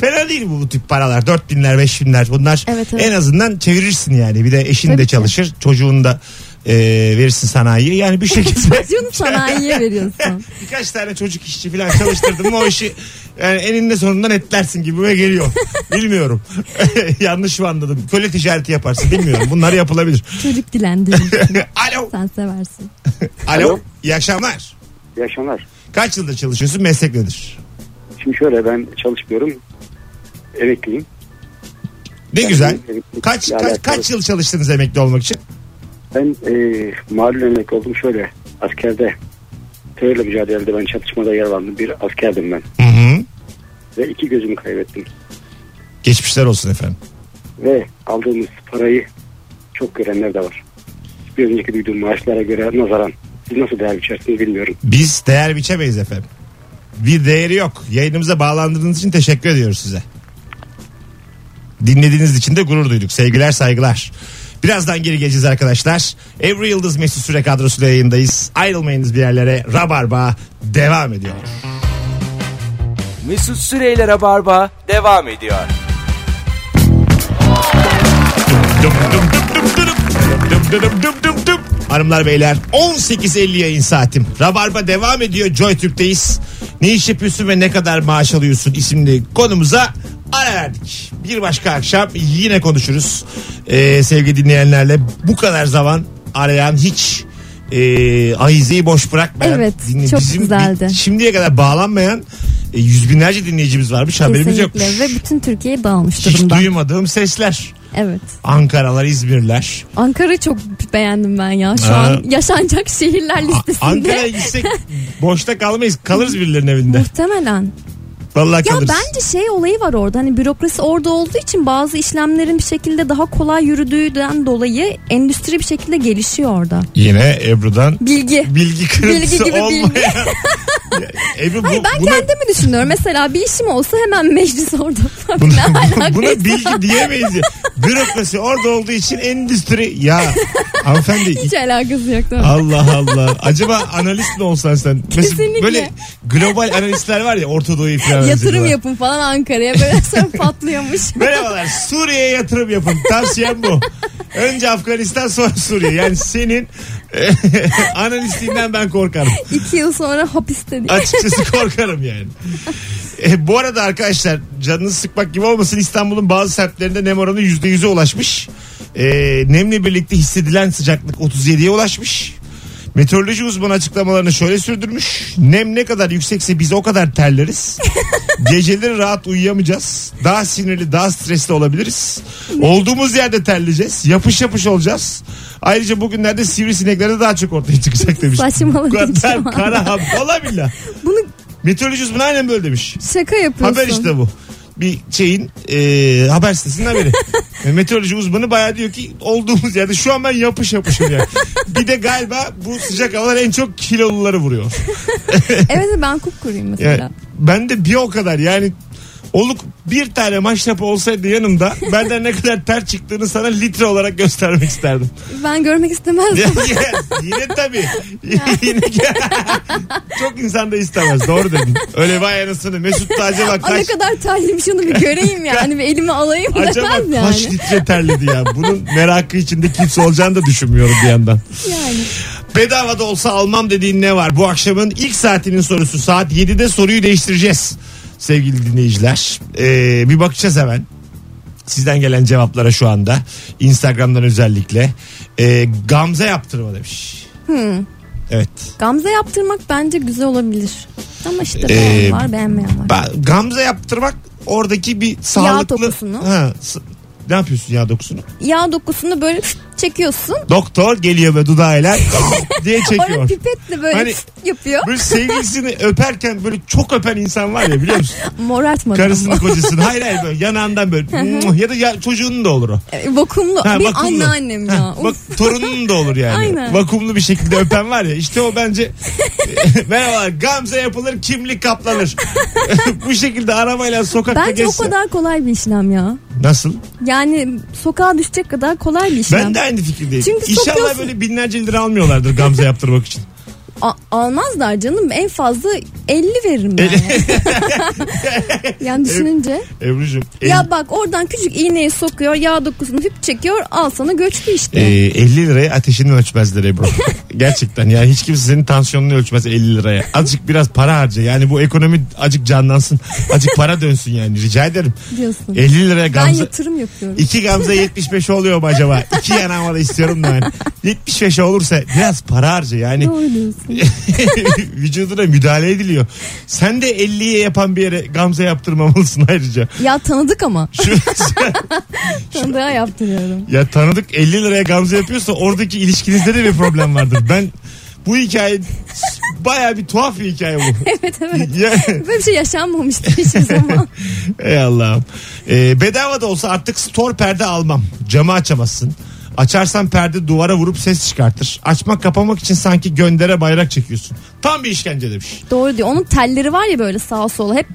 S2: Fena değil bu, bu tip paralar. 4000'ler 5000'ler bunlar
S3: Evet, evet.
S2: en azından çevirirsin yani. Bir de eşin
S3: Tabii
S2: de
S3: ki.
S2: çalışır. Çocuğun da e, verirsin sanayiye. Yani bir şekilde
S3: Çocuğunu sanayiye veriyorsun.
S2: birkaç tane çocuk işçi falan çalıştırdım mı o işi yani eninde sonundan etlersin gibime geliyor. Bilmiyorum. Yanlış mı anladım? Köle ticareti yaparsın bilmiyorum. Bunlar yapılabilir.
S3: Çocuk dilendirir.
S2: Alo.
S3: Sen seversin.
S2: Alo. İyi akşamlar.
S5: İyi akşamlar.
S2: Kaç yılda çalışıyorsun? Meslek nedir?
S5: Şimdi şöyle ben çalışmıyorum. Emekliyim.
S2: Ne
S5: Yani
S2: güzel.
S5: emeklilikle
S2: Kaç, kaç,
S5: alakalı.
S2: kaç yıl çalıştınız emekli olmak için?
S5: Ben e, malum emekli oldum şöyle. Askerde terörle mücadelede ben çatışmada yer aldım. Bir askerdim ben.
S2: Hı hı.
S5: Ve iki gözümü kaybettim.
S2: Geçmişler olsun efendim.
S5: Ve aldığımız parayı çok görenler de var. Bir önceki duyduğum maaşlara göre nazaran. Siz nasıl değer biçersiniz bilmiyorum.
S2: Biz değer biçemeyiz efendim. Bir değeri yok. Yayınımıza bağlandığınız için teşekkür ediyoruz size. Dinlediğiniz için de gurur duyduk. Sevgiler saygılar. Birazdan geri geleceğiz arkadaşlar. Evri Yıldız Mesut Süre kadrosuyla yayındayız. Ayrılmayınız bir yerlere. Rabarba devam ediyor.
S1: Mesut Süreyler'e barba devam ediyor.
S2: Dum dum dum dum dum. Dum dum dum dum dum dum. Hanımlar beyler 18.50 yayın saatim. Rabarba devam ediyor. Joy Türk'teyiz. Ne iş yapıyorsun ve ne kadar maaş alıyorsun isimli konumuza ara verdik. Bir başka akşam yine konuşuruz. Ee, sevgili dinleyenlerle bu kadar zaman arayan hiç e, ahizeyi boş bırakmayan.
S3: Evet, çok güzeldi.
S2: Şimdiye kadar bağlanmayan e, yüz binlerce dinleyicimiz varmış haberimiz yok.
S3: Kesinlikle ve bütün Türkiye'ye dağılmış
S2: Hiç
S3: durumda.
S2: duymadığım sesler.
S3: Evet.
S2: Ankaralar, İzmirler.
S3: Ankara'yı çok beğendim ben ya. Şu
S2: Ha.
S3: an yaşanacak şehirler
S2: A-
S3: listesinde.
S2: Ankara'ya gitsek boşta kalmayız. Kalırız birilerinin evinde.
S3: Muhtemelen.
S2: Vallahi
S3: Ya
S2: kalırız.
S3: bence şey olayı var orada. Hani bürokrasi orada olduğu için bazı işlemlerin bir şekilde daha kolay yürüdüğünden dolayı endüstri bir şekilde gelişiyor orada.
S2: Yine Ebru'dan
S3: Bilgi.
S2: bilgi kırıntısı
S3: Bilgi gibi bilgi.
S2: olmayan. Ebru bu,
S3: Hayır ben
S2: buna,
S3: kendimi düşünüyorum. Mesela bir işim olsa hemen meclis orada.
S2: buna,
S3: ne
S2: buna
S3: alakası?
S2: bilgi diyemeyiz. ya. Bürokrasi orada olduğu için endüstri. Ya hanımefendi
S3: Hiç alakası yok. değil mi?
S2: Allah Allah. Acaba analist mi olsan sen? Mesela
S3: Kesinlikle.
S2: Böyle global analistler var ya Orta Doğu'yu falan.
S3: Yatırım
S2: yazıyorlar.
S3: yapın falan Ankara'ya böyle sonra patlıyormuş.
S2: Merhabalar Suriye'ye yatırım yapın. Tavsiyem bu. Önce Afganistan sonra Suriye. Yani senin analistliğinden ben korkarım.
S3: İki yıl sonra hapiste diye.
S2: Açıkçası korkarım yani. E, bu arada arkadaşlar canınızı sıkmak gibi olmasın İstanbul'un bazı semtlerinde nem oranı %100'e ulaşmış. E, nemle birlikte hissedilen sıcaklık 37'ye ulaşmış. Meteoroloji uzmanı açıklamalarını şöyle sürdürmüş. Nem ne kadar yüksekse biz o kadar terleriz. Geceleri rahat uyuyamayacağız. Daha sinirli, daha stresli olabiliriz. Olduğumuz yerde terleyeceğiz. Yapış yapış olacağız. Ayrıca bugünlerde sivrisinekler de daha çok ortaya çıkacak demiş.
S3: Saçmaladın
S2: Bu kadar
S3: şu an.
S2: kara hava. Valla billah.
S3: Bunu
S2: Meteoroloji uzmanı aynen böyle demiş.
S3: şaka yapıyorsun.
S2: Haber işte bu. Bir şeyin e, haber sitesinin haberi. E, Meteoroloji uzmanı bayağı diyor ki olduğumuz yerde şu an ben yapış yapışım yani. bir de galiba bu sıcak havalar en çok kiloluları vuruyor.
S3: Evet ben kup kurayım mesela.
S2: Yani, ben de bir o kadar yani oluk bir tane maşrapa olsaydı yanımda benden ne kadar ter çıktığını sana litre olarak göstermek isterdim.
S3: Ben görmek
S2: Ya-
S3: istemezdim.
S2: ya- Yine tabii. Yine Çok insan da istemez. Doğru dedin. Öyle vay anasını. Mesut da acaba
S3: Aa, ne
S2: kaç,
S3: kadar terliyim şunu bir göreyim yani ve elime alayım
S2: acaba
S3: demez
S2: kaç
S3: yani.
S2: litre terledi ya. Bunun merakı içinde kimse olacağını da düşünmüyorum bir yandan.
S3: yani.
S2: Bedava da olsa almam dediğin ne var? Bu akşamın ilk saatinin sorusu saat 7'de soruyu değiştireceğiz. Sevgili dinleyiciler Ee, bir bakacağız hemen. Sizden gelen cevaplara şu anda. Instagram'dan özellikle. Ee, Gamze yaptırma demiş.
S3: Hmm.
S2: Evet.
S3: Gamze yaptırmak bence güzel olabilir. Ama işte
S2: Ee,
S3: beğen var beğenmeyen var.
S2: Ba- Gamze yaptırmak oradaki bir sağlıklı...
S3: dokusunu.
S2: Ha, s- ne yapıyorsun yağ dokusunu?
S3: Yağ dokusunu böyle çekiyorsun.
S2: Doktor geliyor ve dudağıyla diye
S3: Orada
S2: çekiyor.
S3: pipetle böyle
S2: Hani-
S3: yapıyor.
S2: Böyle sevgilisini öperken böyle çok öpen insan var ya biliyor musun?
S3: Morartmadan.
S2: Karısını kocasını. Hayır hayır böyle yanağından böyle. muah, ya da ya, çocuğunun da olur o.
S3: E, Vakumlu.
S2: Ha,
S3: bir
S2: vakumlu.
S3: anneannem
S2: Ha,
S3: ya.
S2: Bak
S3: Uf.
S2: torunun da olur yani.
S3: Aynen.
S2: Vakumlu bir şekilde öpen var ya. İşte o bence merhaba Gamze yapılır kimlik kaplanır. Bu şekilde arabayla sokakta
S3: Bence o
S2: geçse.
S3: kadar kolay bir işlem ya.
S2: Nasıl?
S3: Yani sokağa düşecek kadar kolay bir işlem.
S2: Ben de aynı fikirdeyim.
S3: Çünkü
S2: İnşallah
S3: sokuyorsun.
S2: böyle binlerce lira almıyorlardır Gamze yaptırmak için.
S3: A- almazlar canım. En fazla 50 veririm ben. yani. yani düşününce.
S2: Ebru'cum.
S3: Ya bak oradan küçük iğneyi sokuyor. Yağ dokusunu hüp çekiyor. Al sana göçtü işte.
S2: e, 50 liraya ateşini ölçmezler Ebru. Gerçekten yani hiç kimse senin tansiyonunu ölçmez 50 liraya. Azıcık biraz para harca. Yani bu ekonomi acık canlansın. Azıcık para dönsün yani rica ederim.
S3: Diyorsun.
S2: 50 liraya e,
S3: ben
S2: Gamze...
S3: yatırım yapıyorum.
S2: İki gamze 75 oluyor mu acaba? İki yanağıma da istiyorum da yani. 75 olursa biraz para harca yani.
S3: Doğru diyorsun.
S2: Vücuduna müdahale ediliyor. Sen de 50'ye yapan bir yere gamze yaptırmamalısın ayrıca.
S3: Ya tanıdık ama.
S2: Şu,
S3: Tanıdığa yaptırıyorum.
S2: ya tanıdık 50 liraya gamze yapıyorsa oradaki ilişkinizde de bir problem vardır. Ben bu hikaye baya bir tuhaf bir hikaye bu.
S3: evet evet.
S2: Ya,
S3: Böyle bir şey yaşanmamıştı hiçbir zaman.
S2: ey Allah'ım. Ee, bedava da olsa artık store perde almam. Camı açamazsın. Açarsan perde duvara vurup ses çıkartır. Açmak kapamak için sanki göndere bayrak çekiyorsun. Tam bir işkence demiş.
S3: Doğru diyor. Onun telleri var ya böyle sağa sola hep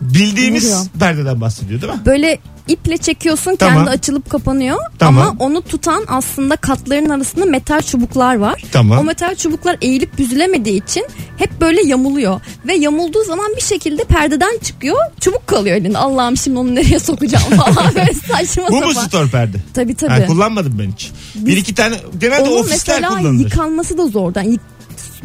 S2: Bildiğimiz
S3: Vuruyor.
S2: perdeden bahsediyor değil mi?
S3: böyle iple çekiyorsun
S2: Tamam.
S3: kendi açılıp kapanıyor
S2: Tamam.
S3: ama onu tutan aslında katların arasında metal çubuklar var.
S2: Tamam.
S3: O metal çubuklar eğilip büzülemediği için hep böyle yamuluyor ve yamulduğu zaman bir şekilde perdeden çıkıyor çubuk kalıyor elinde Allah'ım şimdi onu nereye sokacağım falan böyle saçma
S2: Bu mu
S3: sapan.
S2: store perde?
S3: Tabii tabii.
S2: Ha, kullanmadım ben hiç. Bir iki tane genelde
S3: Onun
S2: ofisler
S3: mesela
S2: kullanılır.
S3: yıkanması da zordan. Yık-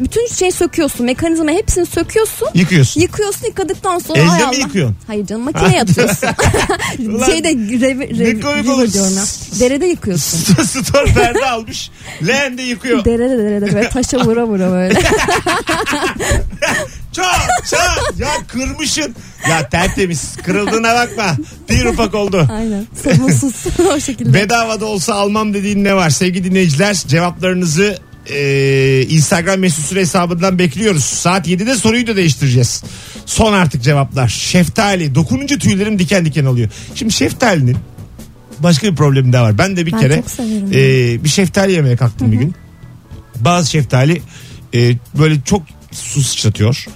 S3: bütün şey söküyorsun mekanizma hepsini söküyorsun
S2: Yıkıyorsun.
S3: Yıkıyorsun yıkadıktan sonra
S2: Elle
S3: hay
S2: mi
S3: Allah.
S2: yıkıyorsun?
S3: Hayır canım makineye atıyorsun.
S2: Ulan,
S3: Şeyde rev,
S2: ne
S3: rev,
S2: komik
S3: river
S2: olur.
S3: diyorum ya. Derede yıkıyorsun.
S2: store perde almış. Leğende yıkıyor.
S3: Derede derede böyle taşa vura vura böyle.
S2: Çat çat. Ya kırmışın. Ya tertemiz. Kırıldığına bakma. Bir ufak oldu.
S3: Aynen. Sorunsuz o şekilde.
S2: Bedava da olsa almam dediğin ne var? Sevgili dinleyiciler cevaplarınızı e, Instagram mesut süre hesabından bekliyoruz. Saat 7'de soruyu da değiştireceğiz. Son artık cevaplar. Şeftali. Dokununca tüylerim diken diken oluyor. Şimdi şeftalinin başka bir problemi daha var. Ben de bir
S3: Ben
S2: kere
S3: çok severim
S2: e, bir şeftali yemeye kalktım bir gün. Bazı şeftali e, böyle çok su sıçratıyor.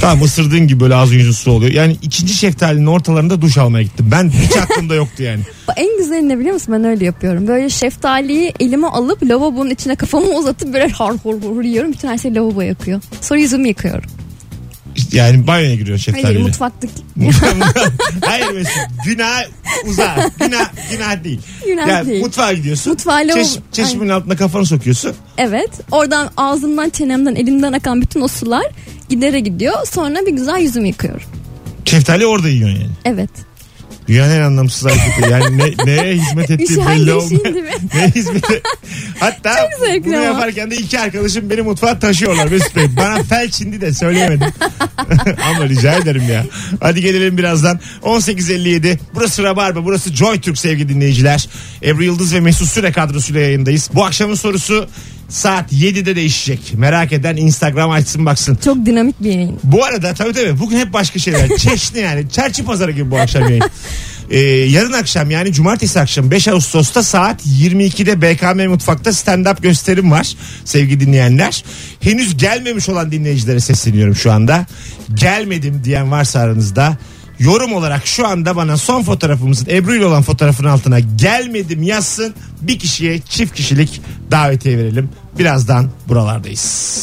S2: Tamam ısırdığın gibi böyle ağzın yüzün su oluyor. Yani ikinci şeftalinin ortalarında duş almaya gittim. Ben hiç aklımda yoktu yani.
S3: En güzeli ne biliyor musun? Ben öyle yapıyorum. Böyle şeftaliyi elime alıp lavabonun içine kafamı uzatıp böyle har hor hor yiyorum. Bütün her şey lavaboya yakıyor. Sonra yüzümü yıkıyorum.
S2: Yani banyoya giriyor şeftaliyle.
S3: Hayır mutfaktaki.
S2: Hayır Mesut. Günah uzar. Günah, günah değil.
S3: Günah
S2: yani
S3: değil.
S2: mutfağa gidiyorsun.
S3: Mutfağa lavabo-
S2: çeş- çeşmenin altına kafanı sokuyorsun.
S3: Evet. Oradan ağzımdan, çenemden, elimden akan bütün o sular gidere gidiyor. Sonra bir güzel yüzümü yıkıyorum.
S2: Şeftali orada yiyorsun yani.
S3: Evet.
S2: Dünyanın en anlamsız hareketi. Yani ne, neye hizmet ettiği belli olmuyor.
S3: Üşengeçliğim şey değil mi?
S2: Ne hizmeti? Hatta
S3: Çok zevkli
S2: bunu
S3: ama.
S2: yaparken de iki arkadaşım beni mutfağa taşıyorlar Mesut Bey. Bana felç indi de söyleyemedim. ama rica ederim ya. Hadi gelelim birazdan. 18.57 burası Rabarba burası Joy Türk sevgili dinleyiciler. Ebru Yıldız ve Mesut Süre kadrosuyla yayındayız. Bu akşamın sorusu saat 7'de değişecek. Merak eden Instagram açsın baksın.
S3: Çok dinamik bir yayın.
S2: Bu arada tabii tabii bugün hep başka şeyler. Çeşni yani. Çerçi pazarı gibi bu akşam yayın. Ee, yarın akşam yani cumartesi akşam 5 Ağustos'ta saat 22'de BKM Mutfak'ta stand-up gösterim var sevgili dinleyenler. Henüz gelmemiş olan dinleyicilere sesleniyorum şu anda. Gelmedim diyen varsa aranızda yorum olarak şu anda bana son fotoğrafımızın Ebru ile olan fotoğrafın altına gelmedim yazsın. Bir kişiye çift kişilik davetiye verelim. Birazdan buralardayız.